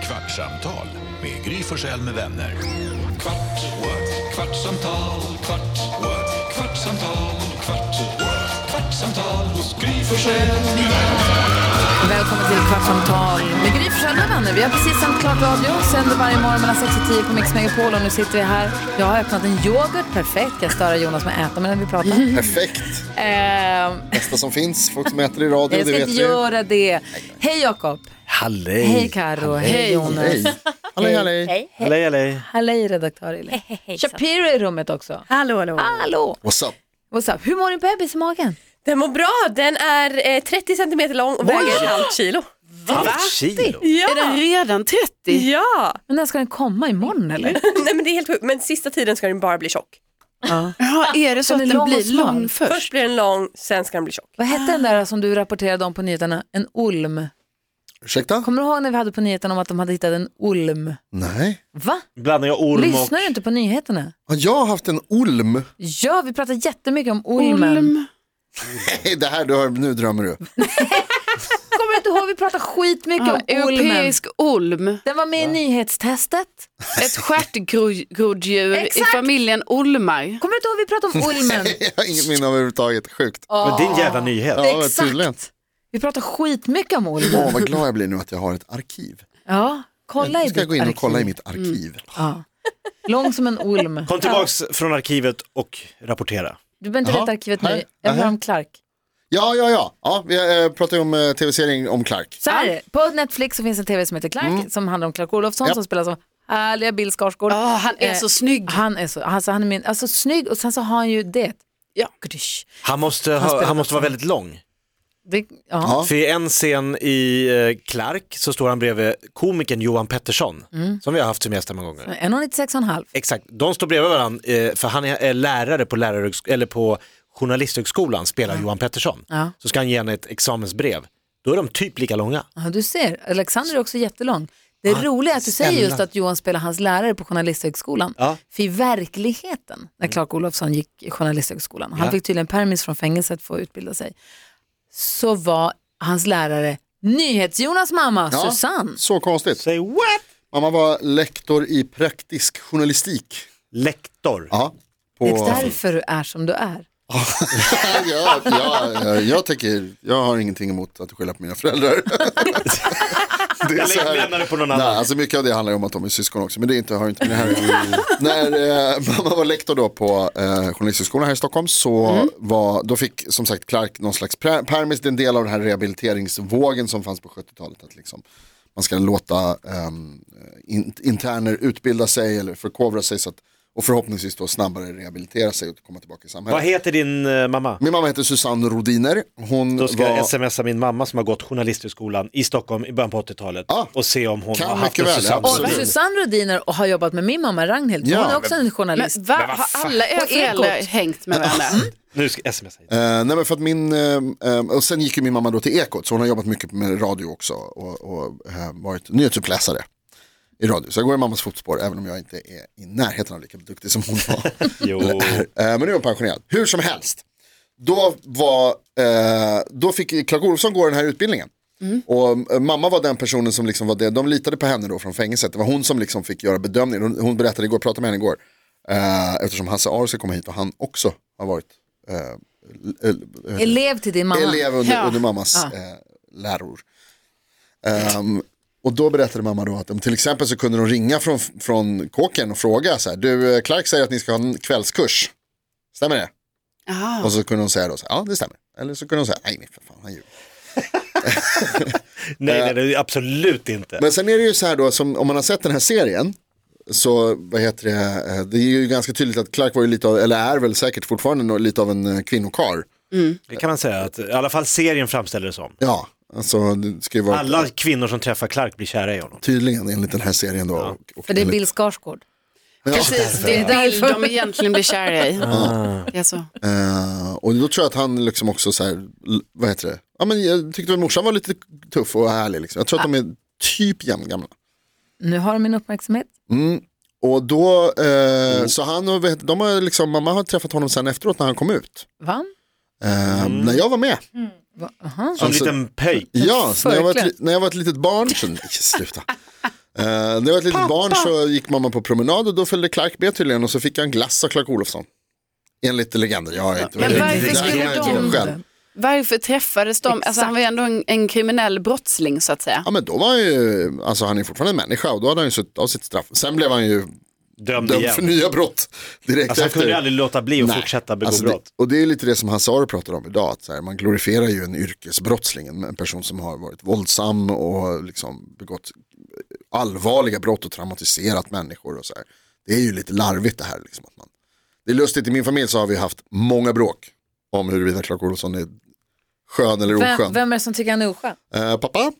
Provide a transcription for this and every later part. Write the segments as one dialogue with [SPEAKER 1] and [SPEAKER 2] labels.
[SPEAKER 1] Kvartsamtal med Gry Forssell med vänner.
[SPEAKER 2] Kvart, what? kvartsamtal, kvart, what? kvartsamtal, kvart, what? kvartsamtal hos Gry Forssell med vänner.
[SPEAKER 3] Välkommen till Kvartsamtal med Gry Forssell med vänner. Vi har precis sänt klart radio, sänder varje morgon mellan 6 och 10 på Mix Megapol och nu sitter vi här. Jag har öppnat en yoghurt, perfekt. Jag stör Jonas med att äta medan vi pratar.
[SPEAKER 4] Mm.
[SPEAKER 3] Eh,
[SPEAKER 4] Perfekt.
[SPEAKER 3] Ehm,
[SPEAKER 4] Bästa som finns. Folk som äter i radio,
[SPEAKER 3] jag
[SPEAKER 4] det
[SPEAKER 3] ska
[SPEAKER 4] vet
[SPEAKER 3] inte
[SPEAKER 4] vi.
[SPEAKER 3] göra det. Hej Jakob.
[SPEAKER 5] Hallej!
[SPEAKER 3] Hej Karo. Hej Jonas.
[SPEAKER 4] Hej. Hallå, hallå.
[SPEAKER 6] Hej.
[SPEAKER 5] Hallej, hallej!
[SPEAKER 3] Hallå redaktör Elin.
[SPEAKER 6] Hejsan.
[SPEAKER 3] Shapiro är i rummet också.
[SPEAKER 6] Hallå, hallå.
[SPEAKER 3] Hallå.
[SPEAKER 4] What's up?
[SPEAKER 3] What's up? Hur mår din bebis i magen?
[SPEAKER 6] Ah, Den mår bra. Den är eh, 30 centimeter lång och väger ett halvt kilo.
[SPEAKER 5] Kilo!
[SPEAKER 6] Ja.
[SPEAKER 7] Är den redan 30?
[SPEAKER 6] Ja,
[SPEAKER 3] Men när ska den komma? Imorgon eller?
[SPEAKER 6] nej men det är helt sjukt. Men sista tiden ska den bara bli tjock.
[SPEAKER 7] Ja, är det så
[SPEAKER 3] Den
[SPEAKER 7] att
[SPEAKER 3] är
[SPEAKER 7] den
[SPEAKER 3] lång och
[SPEAKER 7] blir
[SPEAKER 3] smal.
[SPEAKER 7] lång först?
[SPEAKER 6] Först blir den lång, sen ska den bli tjock.
[SPEAKER 3] Vad hette den där som du rapporterade om på nyheterna? En olm.
[SPEAKER 4] Ursäkta?
[SPEAKER 3] Kommer du ihåg när vi hade på nyheterna om att de hade hittat en olm?
[SPEAKER 4] Nej.
[SPEAKER 3] Va?
[SPEAKER 5] Blandning av orm
[SPEAKER 3] Lyssnar
[SPEAKER 5] och...
[SPEAKER 3] du inte på nyheterna?
[SPEAKER 4] Har jag haft en orm?
[SPEAKER 3] Ja, vi pratar jättemycket om ormen.
[SPEAKER 7] Olm.
[SPEAKER 4] Nej, det här du hör, nu drömmer du.
[SPEAKER 3] Kommer du inte ihåg? Vi pratar skitmycket
[SPEAKER 7] Ja,
[SPEAKER 3] om ormen.
[SPEAKER 7] Ah, europeisk olm.
[SPEAKER 3] Den var med i nyhetstestet.
[SPEAKER 7] Ett stjärtgroddjur i
[SPEAKER 3] Exakt.
[SPEAKER 7] familjen olmar.
[SPEAKER 3] Kommer du inte ihåg? Vi pratade om ormen.
[SPEAKER 4] Jag har inget minne av överhuvudtaget. Sjukt. Åh,
[SPEAKER 5] Men din jävla nyhet.
[SPEAKER 4] Ja, vad
[SPEAKER 3] Exakt.
[SPEAKER 4] tydligen.
[SPEAKER 3] Vi pratar skitmycket om ormen.
[SPEAKER 4] vad glad jag blir nu att jag har ett arkiv.
[SPEAKER 3] Ja, kolla i
[SPEAKER 4] Nu ska
[SPEAKER 3] ditt
[SPEAKER 4] jag gå in
[SPEAKER 3] arkiv.
[SPEAKER 4] och
[SPEAKER 3] Mm.
[SPEAKER 4] kolla i mitt arkiv.
[SPEAKER 3] Ja. Lång som en orm.
[SPEAKER 5] Kom tillbaks från arkivet och rapportera.
[SPEAKER 3] Du behöver inte
[SPEAKER 4] Jaha.
[SPEAKER 3] veta arkivet nu.
[SPEAKER 4] Här.
[SPEAKER 3] Jag vill
[SPEAKER 4] Aha.
[SPEAKER 3] om Clark.
[SPEAKER 4] Ja, ja, ja. ja vi eh, pratar ju om eh, tv-serien om Clark.
[SPEAKER 3] Så här är det. På Netflix så finns en tv som heter Clark som handlar om Clark Olofsson
[SPEAKER 4] Mm. Ja. Ah,
[SPEAKER 3] som spelas av härliga Bill Skarsgård.
[SPEAKER 7] Ja, han är
[SPEAKER 3] Eh,
[SPEAKER 7] så snygg.
[SPEAKER 3] Han är så, alltså, han är min, alltså snygg och sen så har han ju det.
[SPEAKER 7] Ja.
[SPEAKER 3] Gdysch.
[SPEAKER 5] Han måste, ha,
[SPEAKER 3] spelar
[SPEAKER 5] han måste vara väldigt lång.
[SPEAKER 3] Det, ja.
[SPEAKER 4] Ja.
[SPEAKER 5] För i en scen i eh, Clark så står han bredvid komikern Johan Pettersson,
[SPEAKER 3] Mm.
[SPEAKER 5] som vi har haft som gäst här många gånger.
[SPEAKER 3] 1,96 och en halv.
[SPEAKER 5] Exakt, de står bredvid varandra, eh, för han är, är lärare på, lärarhögsk- eller på journalisthögskolan, spelar Johan Pettersson.
[SPEAKER 3] Ja.
[SPEAKER 5] Så ska han ge henne ett examensbrev. Då är de typ lika långa.
[SPEAKER 3] Ja, du ser, Alexander är också jättelång. Det roliga är att du säger
[SPEAKER 5] snälla.
[SPEAKER 3] just att Johan spelar hans lärare på Journalisthögskolan.
[SPEAKER 5] Ja.
[SPEAKER 3] För i verkligheten, när Clark Olofsson gick i Journalisthögskolan, han
[SPEAKER 5] Ja.
[SPEAKER 3] fick tydligen permis från fängelset för att utbilda sig, så var hans lärare NyhetsJonas mamma,
[SPEAKER 4] Ja.
[SPEAKER 3] Susanne.
[SPEAKER 4] Så konstigt.
[SPEAKER 5] Say what?
[SPEAKER 4] Mamma var lektor i praktisk journalistik.
[SPEAKER 5] Lektor.
[SPEAKER 4] Ja. På...
[SPEAKER 3] Det är därför du är som du är.
[SPEAKER 4] ja, ja, ja, jag, tycker, jag har ingenting emot att skylla på mina föräldrar. det är
[SPEAKER 5] Jag lämnar det på någon
[SPEAKER 4] Nej,
[SPEAKER 5] annan.
[SPEAKER 4] alltså mycket av det handlar ju om att de är syskon också, men det är inte, har inte med det här att göra. När eh, mamma var lektor då på eh, Journalisthögskolan här i Stockholm så
[SPEAKER 5] Mm.
[SPEAKER 4] var, då fick som sagt Clark någon slags pre- permis, det är en del av den här rehabiliteringsvågen som fanns på 70-talet. Att liksom, man ska låta ehm, in, interner utbilda sig eller förkovra sig så att, och förhoppningsvis då snabbare rehabilitera sig och komma tillbaka i samhället.
[SPEAKER 5] Vad heter din eh, mamma?
[SPEAKER 4] Min mamma heter Susanne Rodiner. Hon
[SPEAKER 5] Då ska
[SPEAKER 4] var...
[SPEAKER 5] jag smsa min mamma som har gått journalisthögskolan i Stockholm i början på 80-talet
[SPEAKER 4] Ah.
[SPEAKER 5] och se om hon
[SPEAKER 4] Kan
[SPEAKER 5] har
[SPEAKER 4] mycket
[SPEAKER 5] haft en
[SPEAKER 4] väl,
[SPEAKER 5] Susanne.
[SPEAKER 3] Och
[SPEAKER 4] absolut.
[SPEAKER 3] Susanne Rhodiner och har jobbat med min mamma Ragnhild. Hon
[SPEAKER 4] Ja,
[SPEAKER 3] är också en
[SPEAKER 7] Men
[SPEAKER 3] journalist.
[SPEAKER 7] va, har alla era
[SPEAKER 3] På
[SPEAKER 7] föräldrar
[SPEAKER 3] Ekot.
[SPEAKER 7] hängt med varandra?
[SPEAKER 5] Nu ska jag smsa. hit.
[SPEAKER 4] Eh, nej men för att min, eh, eh, och sen gick ju min mamma då till Ekot så hon har jobbat mycket med radio också och, och eh, varit nyhetsuppläsare i radio. Så jag går i mammas fotspår även om jag inte är i närheten av lika duktig som hon var.
[SPEAKER 5] Jo.
[SPEAKER 4] Eh, men nu är hon pensionerad. Hur som helst, då, var, eh, då fick Clark Olofsson gå den här utbildningen. Och eh, mamma var den personen som liksom var det, de litade på henne då från fängelset. Det var hon som liksom fick göra bedömningen. Hon, hon berättade igår, jag pratade med henne igår. Eh, eftersom Hasse Aro ska komma hit och han också har varit eh, l- l- eh,
[SPEAKER 3] Elev till din mamma.
[SPEAKER 4] elev under,
[SPEAKER 7] Ja.
[SPEAKER 4] under mammas
[SPEAKER 3] Ja.
[SPEAKER 4] eh, läror. Ehm, och då berättade mamma då att de, till exempel så kunde de ringa från, från kåken och fråga så här, du eh, Clark säger att ni ska ha en kvällskurs, stämmer det?
[SPEAKER 7] Jaha.
[SPEAKER 4] Och så kunde hon säga då, så här, ja det stämmer. Eller så kunde hon säga, nej nej för fan han ljuger.
[SPEAKER 5] Nej, nej, nej, absolut inte.
[SPEAKER 4] Men sen är det ju så här då, som, om man har sett den här serien, så vad heter det, eh, det är ju ganska tydligt att Clark var ju lite av, eller är väl säkert fortfarande nå- lite av en eh, kvinnokar.
[SPEAKER 5] Det kan man säga att i alla fall serien framställer det som.
[SPEAKER 4] Ja, alltså det ska ju vara
[SPEAKER 5] Alla kvinnor som träffar Clark blir kära i honom.
[SPEAKER 4] tydligen enligt den här serien då. Och, och
[SPEAKER 3] För det är
[SPEAKER 4] enligt-
[SPEAKER 3] Bill Skarsgård.
[SPEAKER 7] Precis, det är Bill de egentligen blir kära i. Det är så.
[SPEAKER 4] Eh, och då tror jag att han liksom också så här, l- vad heter det, ja men jag tyckte väl morsan var lite tuff och härlig liksom. Jag tror att de är typ jämngamla.
[SPEAKER 3] Nu har du min uppmärksamhet.
[SPEAKER 4] Och då, eh,
[SPEAKER 7] Mm.
[SPEAKER 4] så han och vad heter- de har liksom, mamma har träffat honom sen efteråt när han kom ut.
[SPEAKER 3] Va?
[SPEAKER 4] Eh,
[SPEAKER 7] Mm.
[SPEAKER 4] När jag var med.
[SPEAKER 3] Va? Aha.
[SPEAKER 5] Som en
[SPEAKER 4] Alltså-
[SPEAKER 5] liten pöjk.
[SPEAKER 4] Ja, så när jag, var ett,
[SPEAKER 3] Verkligen.
[SPEAKER 4] li- när jag var ett litet barn. Så, nej, sluta. Eh, när jag var ett litet barn så gick mamma på promenad och då följde Clark med tydligen och så fick jag en glass av Clark Olofsson. Enligt legenden. Jag är inte
[SPEAKER 7] Men
[SPEAKER 4] det-
[SPEAKER 7] varför
[SPEAKER 4] det här kan
[SPEAKER 7] skulle
[SPEAKER 4] jag inte
[SPEAKER 7] de-
[SPEAKER 4] själv.
[SPEAKER 7] Varför träffades de? Alltså, han var ju ändå en, en kriminell brottsling så att säga.
[SPEAKER 4] Ja men då var han ju, alltså han är fortfarande en människa och då hade han ju suttit av sitt straff. Sen blev han ju
[SPEAKER 5] Dömd
[SPEAKER 4] dömd för
[SPEAKER 5] igen.
[SPEAKER 4] nya brott direkt
[SPEAKER 5] Alltså han
[SPEAKER 4] efter.
[SPEAKER 5] kunde ju aldrig låta bli att
[SPEAKER 4] Nej.
[SPEAKER 5] fortsätta begå
[SPEAKER 4] Alltså, det-
[SPEAKER 5] brott.
[SPEAKER 4] Och det är lite det som Hazard pratar om idag, att så här, man glorifierar ju en yrkesbrottsling, en en person som har varit våldsam och liksom begått allvarliga brott och traumatiserat människor och så här. Det är ju lite larvigt det här. Liksom, att man... Det är lustigt, i min familj så har vi haft många bråk om huruvida Clark Olofsson är skön eller
[SPEAKER 3] Vem,
[SPEAKER 4] oskön.
[SPEAKER 3] vem är det som tycker han är oskön?
[SPEAKER 4] Eh, pappa?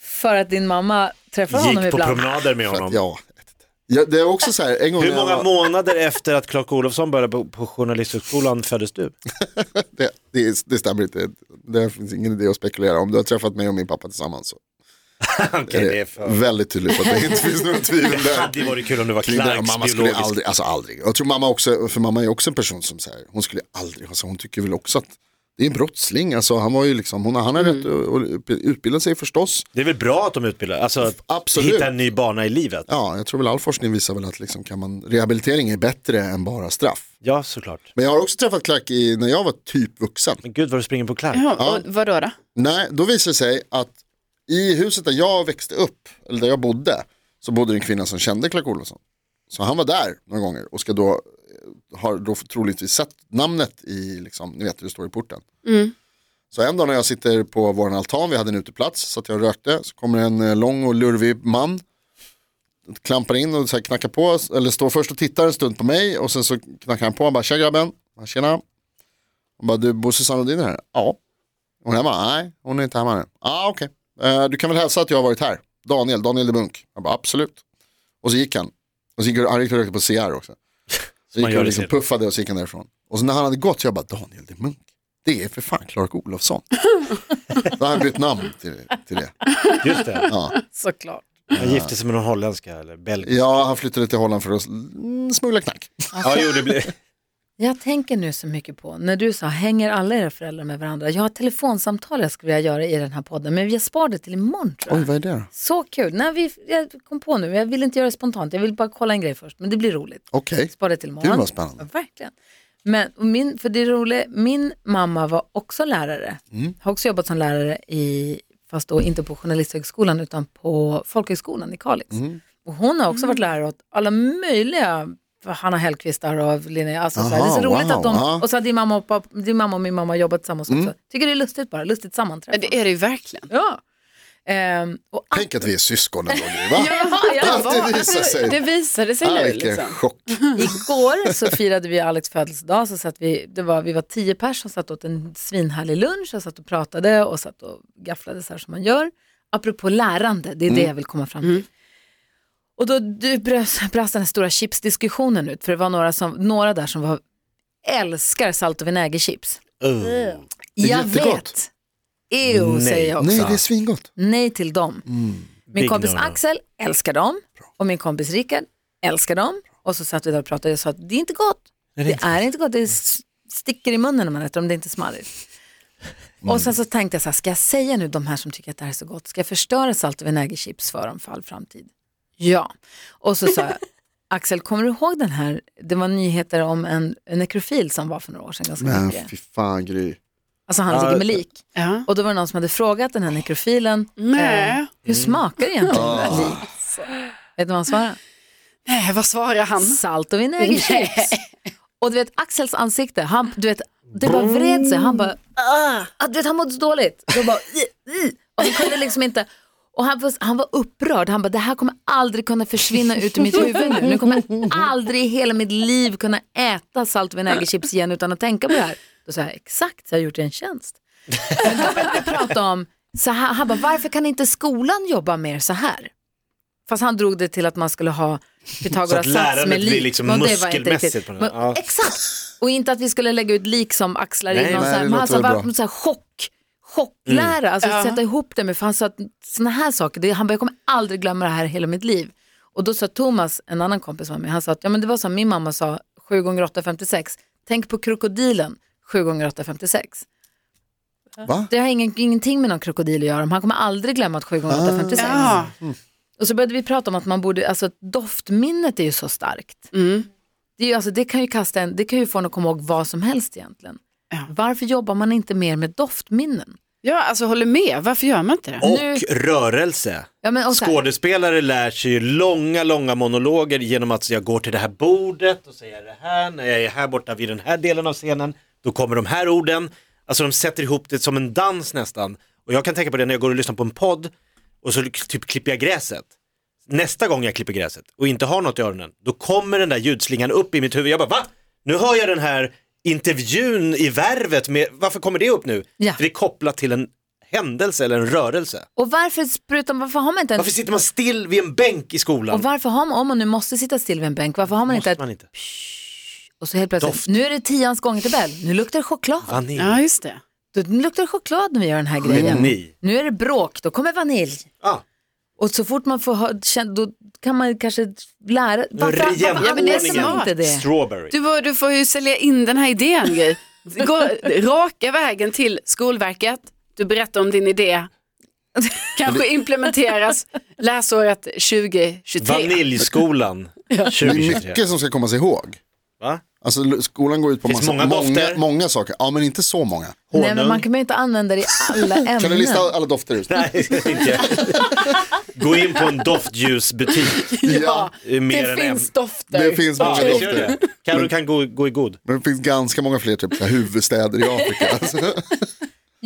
[SPEAKER 3] För att din mamma träffar honom
[SPEAKER 5] Gick på
[SPEAKER 3] ibland.
[SPEAKER 5] promenader med
[SPEAKER 4] För att,
[SPEAKER 5] honom.
[SPEAKER 4] ja, jag vet inte. ja, det är också så här, en gång
[SPEAKER 5] Hur
[SPEAKER 4] när jag
[SPEAKER 5] många
[SPEAKER 4] var-
[SPEAKER 5] månader efter att Clark Olofsson började på, på Journalisthögskolan föddes du?
[SPEAKER 4] det, det, det stämmer inte. Det finns ingen idé att spekulera. Om du har träffat mig och min pappa tillsammans så
[SPEAKER 5] Okej, det är för...
[SPEAKER 4] väldigt tydligt att det inte finns några tvivel
[SPEAKER 5] Det
[SPEAKER 4] där.
[SPEAKER 5] hade ju varit kul om du var
[SPEAKER 4] Kring det. Och
[SPEAKER 5] Clarks
[SPEAKER 4] Mamma skulle
[SPEAKER 5] biologisk
[SPEAKER 4] aldrig, alltså aldrig. Jag tror mamma också, för mamma är också en person som säger, hon skulle aldrig, alltså hon tycker väl också att det är en brottsling, alltså han var ju liksom, hon, han har rätt att att utbilda sig förstås.
[SPEAKER 5] Det är väl bra att de utbildar, alltså att
[SPEAKER 4] Absolut.
[SPEAKER 5] hitta en ny bana i livet.
[SPEAKER 4] Ja, jag tror väl all forskning visar väl att liksom kan man, rehabilitering är bättre än bara straff.
[SPEAKER 5] Ja, såklart.
[SPEAKER 4] Men jag har också träffat Clark i, när jag var typ vuxen.
[SPEAKER 5] Men gud vad du springer på Clark.
[SPEAKER 7] Ja, och vadå då?
[SPEAKER 4] Nej, då visade det sig att i huset där jag växte upp, eller där jag bodde, så bodde det en kvinna som kände Clark Olofsson. Så han var där några gånger och ska då, eh, har då troligtvis sett namnet i, liksom, ni vet hur det står i porten. Så en dag när jag sitter på vår altan, vi hade en uteplats, så att jag rökte, så kommer en eh, lång och lurvig man, klampar in och så här knackar på, eller står först och tittar en stund på mig och sen så knackar han på, han bara tja grabben, Jag bara, tjena. Han bara du Bosse Sandrodin är här? Ja. Hon är hemma? Nej, hon är inte hemma än. Ah, okej. Eh, du kan väl hälsa att jag har varit här? Daniel, Daniel de Bunk. Jag bara absolut. Och så gick han. Och så gick, han gick och rökte på CR också. Så
[SPEAKER 5] man
[SPEAKER 4] gick
[SPEAKER 5] gör
[SPEAKER 4] han
[SPEAKER 5] i
[SPEAKER 4] liksom
[SPEAKER 5] serien.
[SPEAKER 4] puffade och så gick han därifrån. Och så när han hade gått så jag bara Daniel de Bunk. Det är för fan Clark Olofsson. Då har han bytt namn till, till det.
[SPEAKER 5] Just det.
[SPEAKER 4] Ja.
[SPEAKER 3] Såklart.
[SPEAKER 5] Han gifte sig med någon holländska eller belgisk.
[SPEAKER 4] ja, han flyttade till Holland för att mm, smuggla knark.
[SPEAKER 3] Alltså.
[SPEAKER 5] Ja, jo, det blev...
[SPEAKER 3] Jag tänker nu så mycket på, när du sa hänger alla era föräldrar med varandra? Jag har ett telefonsamtal jag skulle vilja göra i den här podden, men jag spar det till imorgon tror jag.
[SPEAKER 4] Oj, vad är det då?
[SPEAKER 3] Så kul. När vi, jag kom på nu, jag vill inte göra det spontant, jag vill bara kolla en grej först, men det blir roligt.
[SPEAKER 4] Okej.
[SPEAKER 3] Spara det till imorgon.
[SPEAKER 4] Gud, vad spännande.
[SPEAKER 3] Ja, verkligen. Men och min, för det roliga, min mamma var också lärare.
[SPEAKER 4] Mm.
[SPEAKER 3] Har också jobbat som lärare i, fast då inte på Journalisthögskolan utan på Folkhögskolan i Kalix.
[SPEAKER 4] Mm.
[SPEAKER 3] Och hon har också varit lärare åt alla möjliga Hanna Hellquistar och Linnea, alltså så här, det är så
[SPEAKER 4] Aha,
[SPEAKER 3] roligt att de,
[SPEAKER 4] wow, ja. Mm.
[SPEAKER 3] och så har din mamma, och pappa, din mamma och min mamma har jobbat tillsammans också. Tycker det är lustigt bara, lustigt
[SPEAKER 7] Ja,
[SPEAKER 3] sammanträffande.
[SPEAKER 7] det är det ju verkligen.
[SPEAKER 3] Ja. Ehm, och
[SPEAKER 4] Tänk att vi är syskon en gång nu, va?
[SPEAKER 3] ja,
[SPEAKER 4] Att det visar sig.
[SPEAKER 7] Det visade sig
[SPEAKER 4] Ah,
[SPEAKER 7] nu
[SPEAKER 4] vilken
[SPEAKER 7] liksom.
[SPEAKER 4] chock.
[SPEAKER 3] Mm. Igår så firade vi Alex födelsedag, så satt vi, det var, vi var tio pers som satt åt en svinhärlig lunch, och satt och pratade och satt och gafflade så här som man gör. Apropå lärande, det är
[SPEAKER 4] Mm.
[SPEAKER 3] det jag vill komma fram till. Och då du brös- brast den här stora chipsdiskussionen ut, för det var några, som, några där som var, älskar salt och vinägerchips.
[SPEAKER 5] Uh.
[SPEAKER 4] är
[SPEAKER 3] Jag
[SPEAKER 4] jättegott.
[SPEAKER 3] vet. Ew,
[SPEAKER 5] Nej.
[SPEAKER 3] säger jag också.
[SPEAKER 4] Nej, det är svingott.
[SPEAKER 3] Nej till dem. Min
[SPEAKER 5] Big
[SPEAKER 3] kompis
[SPEAKER 5] no-no.
[SPEAKER 3] Axel älskar dem och min kompis Rickard älskar dem. Och så satt vi där och pratade och jag sa att det är inte gott. det är inte gott, Mm. det s- sticker i munnen när man äter dem, det är inte smarrigt. Och sen så tänkte jag så här, ska jag säga nu de här som tycker att det här är så gott, ska jag förstöra salt och vinägerchips för dem för all framtid? Ja. Och så sa jag, Axel, kommer du ihåg den här, det var nyheter om en, en nekrofil som var för några år sedan ganska
[SPEAKER 4] Men
[SPEAKER 3] mycket.
[SPEAKER 4] fy fan Gry.
[SPEAKER 3] Alltså han ligger med lik.
[SPEAKER 7] Ja.
[SPEAKER 3] Och då var det någon som hade frågat den här nekrofilen,
[SPEAKER 7] Nej.
[SPEAKER 3] eh, hur smakar det egentligen med lik? Vet du vad han svarade?
[SPEAKER 7] Nej, Eh, vad svarar han?
[SPEAKER 3] Salt och vinägerchips. Och du vet Axels ansikte, han, du vet, det bara vred sig. Han bara, ah, du vet han mådde så dåligt. Jag bara, "Ih, ih." och han kunde liksom inte. Och han, var, han var upprörd, han bara det här kommer aldrig kunna försvinna ut ur mitt huvud nu. Nu kommer jag aldrig i hela mitt liv kunna äta salt och vinägerchips igen utan att tänka på det här. Då sa jag exakt, så jag har gjort dig en tjänst. Men då började vi prata om, så här, han bara varför kan inte skolan jobba mer så här? Fast han drog det till att man skulle ha
[SPEAKER 5] Så
[SPEAKER 3] Pythagoras
[SPEAKER 5] att
[SPEAKER 3] sats
[SPEAKER 5] lärandet
[SPEAKER 3] med
[SPEAKER 5] blir
[SPEAKER 3] lik.
[SPEAKER 5] liksom
[SPEAKER 3] och det var inte
[SPEAKER 5] muskelmässigt
[SPEAKER 3] riktigt.
[SPEAKER 5] på något
[SPEAKER 3] Men,
[SPEAKER 5] sätt. Ja.
[SPEAKER 3] Exakt, och inte att vi skulle lägga ut lik som axlar
[SPEAKER 5] Nej,
[SPEAKER 3] in någon så
[SPEAKER 4] nej, det
[SPEAKER 3] här, men han
[SPEAKER 4] låter
[SPEAKER 3] sa
[SPEAKER 4] väl
[SPEAKER 3] bara,
[SPEAKER 4] bra.
[SPEAKER 3] så här chock,
[SPEAKER 5] Mm.
[SPEAKER 3] chocklära, alltså
[SPEAKER 7] Ja.
[SPEAKER 3] sätta ihop det med, för han sa att sådana här saker, det, han bara jag kommer aldrig glömma det här hela mitt liv. Och då sa Thomas, en annan kompis var med, han sa att ja, men det var som min mamma sa, 7 gånger 8 56, tänk på krokodilen, 7 gånger 8 56.
[SPEAKER 4] Va?
[SPEAKER 5] Ah.
[SPEAKER 3] Det har ingen, ingenting med någon krokodil att göra, men han kommer aldrig glömma att 7 gånger 8 56.
[SPEAKER 7] Ja.
[SPEAKER 3] Och så började vi prata om att man borde, alltså att doftminnet är ju så starkt.
[SPEAKER 5] Mm.
[SPEAKER 3] Det, är ju, alltså, det kan ju kasta en, det kan ju få en att komma ihåg vad som helst egentligen.
[SPEAKER 7] Ja.
[SPEAKER 3] Varför jobbar man inte mer med doftminnen?
[SPEAKER 7] Ja, alltså håller med. Varför gör man inte det?
[SPEAKER 5] Och
[SPEAKER 3] Nu-
[SPEAKER 5] rörelse.
[SPEAKER 3] Ja, men, och så här-
[SPEAKER 5] Skådespelare lär sig ju långa, långa monologer genom att jag går till det här bordet och säger det här, när jag är här borta vid den här delen av scenen, då kommer de här orden. Alltså de sätter ihop det som en dans nästan. Och jag kan tänka på det när jag går och lyssnar på en podd och så typ klipper jag gräset. Nästa gång jag klipper gräset och inte har något i öronen, då kommer den där ljudslingan upp i mitt huvud. Jag bara va? Nu hör jag den här intervjun i Värvet med, varför kommer det upp nu?
[SPEAKER 3] Ja.
[SPEAKER 5] För det är kopplat till en händelse eller en rörelse.
[SPEAKER 3] Och varför, sprutar, varför har man inte en...
[SPEAKER 5] Varför sitter man still vid en bänk i skolan?
[SPEAKER 3] Och varför har man, om man nu måste sitta still vid en bänk, varför har man inte
[SPEAKER 5] Måste
[SPEAKER 3] ett...
[SPEAKER 5] man inte?
[SPEAKER 3] Och så helt plötsligt,
[SPEAKER 5] Doft.
[SPEAKER 3] nu är det tians gångertabell, nu luktar det choklad.
[SPEAKER 5] Vanilj.
[SPEAKER 7] Ja, just det.
[SPEAKER 3] Då luktar det choklad när vi gör den här grejen.
[SPEAKER 5] Geni.
[SPEAKER 3] Nu är det bråk, då kommer vanilj.
[SPEAKER 5] Ah,
[SPEAKER 3] Och så fort man får ha, känn- då kan man kanske lära... Varför, varför
[SPEAKER 5] rejäl
[SPEAKER 3] använder
[SPEAKER 7] ordningen.
[SPEAKER 3] man inte det?
[SPEAKER 5] strawberry.
[SPEAKER 7] Du, får- du får ju sälja in den här idén. Gry. Gå raka vägen till Skolverket. Du berättar om din idé. Kanske implementeras läsåret 2023.
[SPEAKER 5] Vaniljskolan
[SPEAKER 4] Det är
[SPEAKER 5] 2023.
[SPEAKER 4] mycket som ska komma sig ihåg.
[SPEAKER 5] Va?
[SPEAKER 4] Alltså l- skolan går ut på
[SPEAKER 5] Finns
[SPEAKER 4] massa,
[SPEAKER 5] många
[SPEAKER 4] många,
[SPEAKER 5] dofter.
[SPEAKER 4] många saker. Ja men inte så många.
[SPEAKER 3] Nej, men man kan ju inte använda det i alla ämnen.
[SPEAKER 4] Kan du lista alla dofter ut?
[SPEAKER 5] Nej, det ska jag inte. Gå in på en doftljusbutik.
[SPEAKER 4] Ja,
[SPEAKER 5] Det är mer
[SPEAKER 7] Det
[SPEAKER 5] än
[SPEAKER 7] finns
[SPEAKER 5] en.
[SPEAKER 7] dofter.
[SPEAKER 4] det finns
[SPEAKER 5] Ja,
[SPEAKER 4] många
[SPEAKER 5] det gör
[SPEAKER 4] dofter.
[SPEAKER 5] det. Kan du kan gå, gå i god.
[SPEAKER 4] Men det finns ganska många fler typ, så här huvudstäder i Afrika. Alltså,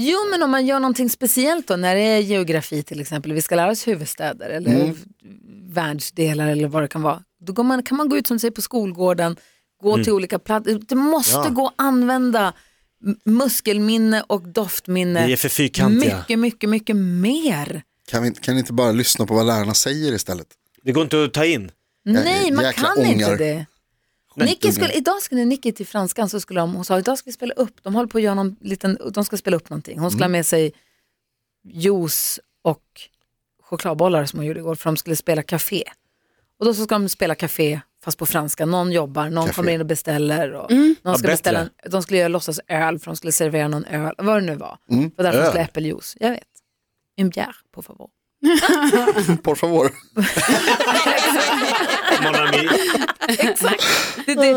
[SPEAKER 3] Jo, men om man gör någonting speciellt då, när det är geografi till exempel, vi ska lära oss huvudstäder eller
[SPEAKER 4] Mm.
[SPEAKER 3] världsdelar eller vad det kan vara, då går man, kan man gå ut som sig på skolgården, gå
[SPEAKER 4] Mm.
[SPEAKER 3] till olika platser. Det måste gå att använda m- muskelminne och doftminne
[SPEAKER 5] Vi är för fyrkantiga.
[SPEAKER 3] mycket, mycket, mycket mer.
[SPEAKER 4] kan, vi, kan ni inte bara lyssna på vad lärarna säger istället?
[SPEAKER 5] Det går inte att ta in.
[SPEAKER 3] Mm. Nej, man
[SPEAKER 4] jäkla
[SPEAKER 3] kan inte
[SPEAKER 4] ångar.
[SPEAKER 3] det. Nicky skulle, idag skulle Nicky till Franskan så skulle de, hon sa idag ska vi spela upp, de håller på att göra någon liten, de ska spela upp någonting. Hon skulle
[SPEAKER 4] Mm.
[SPEAKER 3] ha med sig juice och chokladbollar som hon gjorde igår för de skulle spela café. Och då så ska de spela café fast på franska, någon jobbar, någon
[SPEAKER 4] Café.
[SPEAKER 3] kommer in och beställer. Och någon ska
[SPEAKER 5] bättre.
[SPEAKER 3] beställa en, de skulle göra låtsas öl för de skulle servera någon öl, vad det nu var.
[SPEAKER 4] Mm.
[SPEAKER 3] Det var därför de skulle ha äppeljuice, jag vet. En bière, på favor.
[SPEAKER 4] Por favor.
[SPEAKER 5] Mon ami.
[SPEAKER 3] det,
[SPEAKER 4] Ah.
[SPEAKER 3] det, nej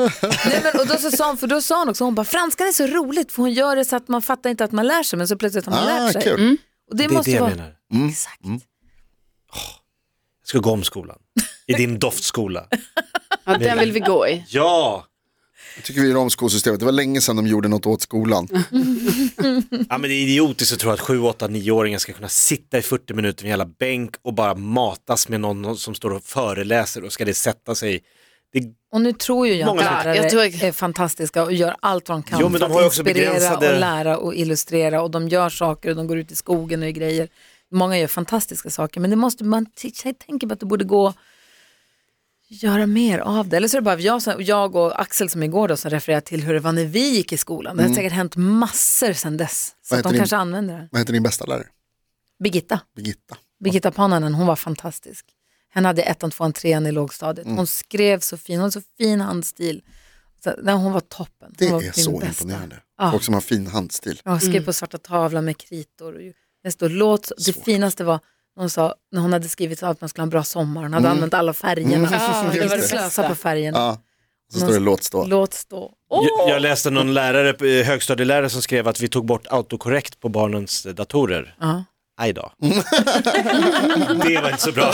[SPEAKER 3] men, och då så sa hon, för då sa hon också, hon bara, franskan är så roligt för hon gör det så att man fattar inte att man lär sig men så plötsligt har man
[SPEAKER 4] Ah,
[SPEAKER 3] lärt sig. Mm.
[SPEAKER 4] kul. Mm.
[SPEAKER 3] Och det,
[SPEAKER 5] Det är
[SPEAKER 3] måste
[SPEAKER 5] det jag
[SPEAKER 3] vara,
[SPEAKER 5] menar.
[SPEAKER 3] exakt.
[SPEAKER 5] Jag ska gå om skolan. I din doftskola.
[SPEAKER 7] Ja, den vill vi gå i.
[SPEAKER 5] Ja!
[SPEAKER 4] Jag tycker vi gör om skolsystemet. Det var länge sedan de gjorde något åt skolan.
[SPEAKER 5] Ja men det är idiotiskt att tro att 7, 8, 9-åringar ska kunna sitta i 40 minuter vid en jävla bänk och bara matas med någon som står och föreläser och ska det sätta sig. Det,
[SPEAKER 3] Och nu tror ju jag att
[SPEAKER 5] Många
[SPEAKER 3] lärare
[SPEAKER 7] jag tror jag-
[SPEAKER 3] är fantastiska och gör allt vad de kan
[SPEAKER 5] Jo, men
[SPEAKER 3] för
[SPEAKER 5] de har ju
[SPEAKER 3] att
[SPEAKER 5] också
[SPEAKER 3] inspirera
[SPEAKER 5] begränsade-
[SPEAKER 3] och lära och illustrera och de gör saker och de går ut i skogen och gör grejer. Många gör fantastiska saker men det måste man t- jag tänker på att det borde gå att göra mer av det. Eller så är det bara jag, som- jag och Axel som igår då som refererar till hur det var när vi gick i skolan.
[SPEAKER 5] Mm.
[SPEAKER 3] Det har säkert hänt massor sedan dess. Så
[SPEAKER 4] Vad
[SPEAKER 3] att de
[SPEAKER 4] heter din-
[SPEAKER 3] kanske använder det.
[SPEAKER 4] Vad heter din bästa lärare?
[SPEAKER 3] Birgitta.
[SPEAKER 4] Birgitta.
[SPEAKER 3] Birgitta Pananen, hon var fantastisk. Hon hade ettan, tvåan, trean i lågstadiet.
[SPEAKER 4] Mm.
[SPEAKER 3] Hon skrev så fin, hon hade så fin handstil. Så, nej, hon var toppen. Hon
[SPEAKER 4] Det
[SPEAKER 3] var
[SPEAKER 4] är Ah.
[SPEAKER 3] min
[SPEAKER 4] så
[SPEAKER 3] bästa.
[SPEAKER 4] imponerande.
[SPEAKER 3] Ja.
[SPEAKER 4] Folk som har fin handstil.
[SPEAKER 3] Ja, Hon skrev på svarta tavlan med kritor. Och ju- det stod låt, så- det finaste var när hon sa, när hon hade skrivit att man skulle ha en bra sommar, hon hade använt alla färgerna.
[SPEAKER 4] just
[SPEAKER 3] det var
[SPEAKER 4] det.
[SPEAKER 3] det slösa på färgerna.
[SPEAKER 4] Mm. Ja. Så står det låt stå.
[SPEAKER 3] Låt stå.
[SPEAKER 5] jag, jag läste någon lärare, eh, högstadielärare som skrev att vi tog bort autokorrekt på barnens eh, datorer.
[SPEAKER 3] Ja.
[SPEAKER 5] Aj då. det var inte så bra.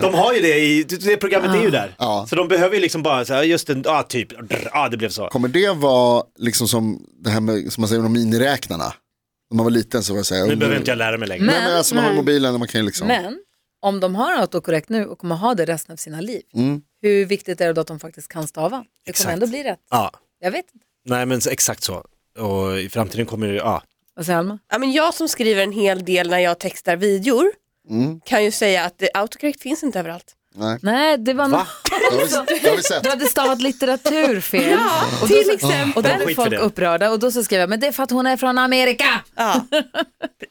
[SPEAKER 5] De har ju det i, det programmet är ju där.
[SPEAKER 4] Ja.
[SPEAKER 5] Så de behöver ju liksom bara så här, just en, ja ah, typ, ah, det blev så.
[SPEAKER 4] Kommer det vara liksom som det här med, som man säger om miniräknarna? När man var liten så var det så här.
[SPEAKER 5] Nu behöver inte jag lära mig längre.
[SPEAKER 4] Nej, men alltså man har mobilen och man kan ju liksom.
[SPEAKER 3] Men om de har autokorrekt nu och kommer ha det resten av sina liv,
[SPEAKER 4] Mm.
[SPEAKER 3] hur viktigt är det då att de faktiskt kan stava? Det kommer
[SPEAKER 5] Exakt.
[SPEAKER 3] ändå bli rätt.
[SPEAKER 5] Ja,
[SPEAKER 3] Jag vet inte.
[SPEAKER 5] nej men så- exakt så. Och i framtiden kommer det, ja.
[SPEAKER 3] Vad säger Alma?
[SPEAKER 6] Ja, men jag som skriver en hel del när jag textar videor
[SPEAKER 5] Mm.
[SPEAKER 6] kan ju säga att eh, autocorrect finns inte överallt.
[SPEAKER 4] Nej.
[SPEAKER 3] Nej, det var
[SPEAKER 5] Va?
[SPEAKER 4] Det har vi, det har vi sett.
[SPEAKER 3] Du hade stavat litteratur fel. Ja, och då,
[SPEAKER 6] till
[SPEAKER 3] så-
[SPEAKER 6] exempel.
[SPEAKER 3] Och då
[SPEAKER 5] Skit
[SPEAKER 3] blev
[SPEAKER 5] för
[SPEAKER 3] folk
[SPEAKER 5] det.
[SPEAKER 3] upprörda och då så skrev jag, men det är för att hon är från Amerika.
[SPEAKER 6] Ja.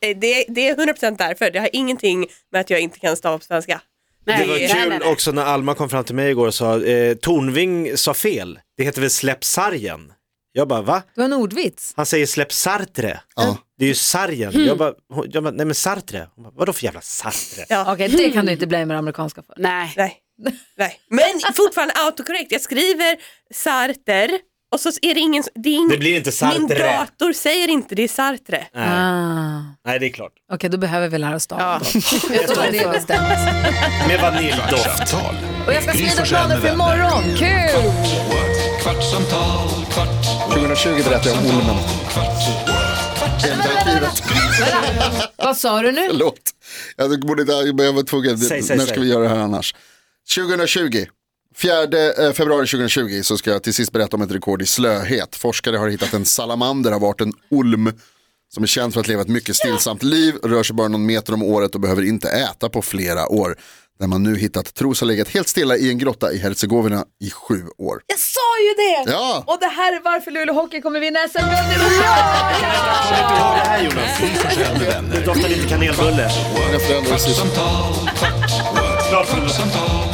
[SPEAKER 6] Eh, Det, det är 100% därför. Det har ingenting med att jag inte kan stava på svenska.
[SPEAKER 5] Det
[SPEAKER 7] Nej,
[SPEAKER 5] var
[SPEAKER 7] nej,
[SPEAKER 5] kul
[SPEAKER 7] nej, nej.
[SPEAKER 5] också när Alma kom fram till mig igår och sa, eh, Tornving sa fel, det heter väl släpp sargen? Jag bara va?
[SPEAKER 3] Det var en ordvits.
[SPEAKER 5] Han säger släpp Sartre.
[SPEAKER 4] Ja.
[SPEAKER 5] Det det är ju sargen. Jag, bara, hon- jag bara, nej men Sartre. Hon bara, vadå för jävla Sartre?
[SPEAKER 6] Ja.
[SPEAKER 3] Okej, det kan du inte blamea det amerikanska för.
[SPEAKER 7] Nej.
[SPEAKER 6] Nej. Nej. Men fortfarande autokorrekt. Jag skriver Sarter och så är det ingen... Det, är ingen,
[SPEAKER 5] Det blir inte Sartre.
[SPEAKER 6] Min dator säger inte det är Sartre.
[SPEAKER 5] Nej.
[SPEAKER 3] Ah,
[SPEAKER 5] nej, det är klart.
[SPEAKER 3] Okej, då behöver vi lära oss
[SPEAKER 7] Ja.
[SPEAKER 3] staven.
[SPEAKER 7] Jag tror det var det.
[SPEAKER 5] Med vaniljdoft.
[SPEAKER 1] Kvartsamtal
[SPEAKER 3] Och jag ska
[SPEAKER 1] med Gry
[SPEAKER 3] skriva
[SPEAKER 1] Forssell
[SPEAKER 3] planer
[SPEAKER 1] med
[SPEAKER 3] för
[SPEAKER 1] vänner.
[SPEAKER 3] imorgon, kul!
[SPEAKER 2] Kvartsamtal, kvart,
[SPEAKER 4] 2020 berättade jag om ormen. Helt arkivet.
[SPEAKER 3] Vad sa du nu?
[SPEAKER 4] Förlåt. Jag borde inte, jag var tvungen.
[SPEAKER 5] Säg, säg,
[SPEAKER 4] När
[SPEAKER 5] säg.
[SPEAKER 4] ska vi göra det här annars? 2020. 4 februari 2020 så ska jag till sist berätta om ett rekord i slöhet. Forskare har hittat en salamander av arten olm som är känd för att leva ett mycket stillsamt liv, rör sig bara någon meter om året och behöver inte äta på flera år. När man nu hittat tros ha legat helt stilla i en grotta i Herzegovina i sju år.
[SPEAKER 3] Jag sa ju det!
[SPEAKER 4] Ja.
[SPEAKER 3] Och det här är varför Luleå Hockey kommer vinna SM-guld i år!
[SPEAKER 5] Ta det här Jonas.
[SPEAKER 1] Gry Forssell med vänner.
[SPEAKER 5] Det doftar lite kanelbulle.
[SPEAKER 4] Mina föräldrar och syskon.
[SPEAKER 2] kvartsamtal, kvart, kvartsamtal,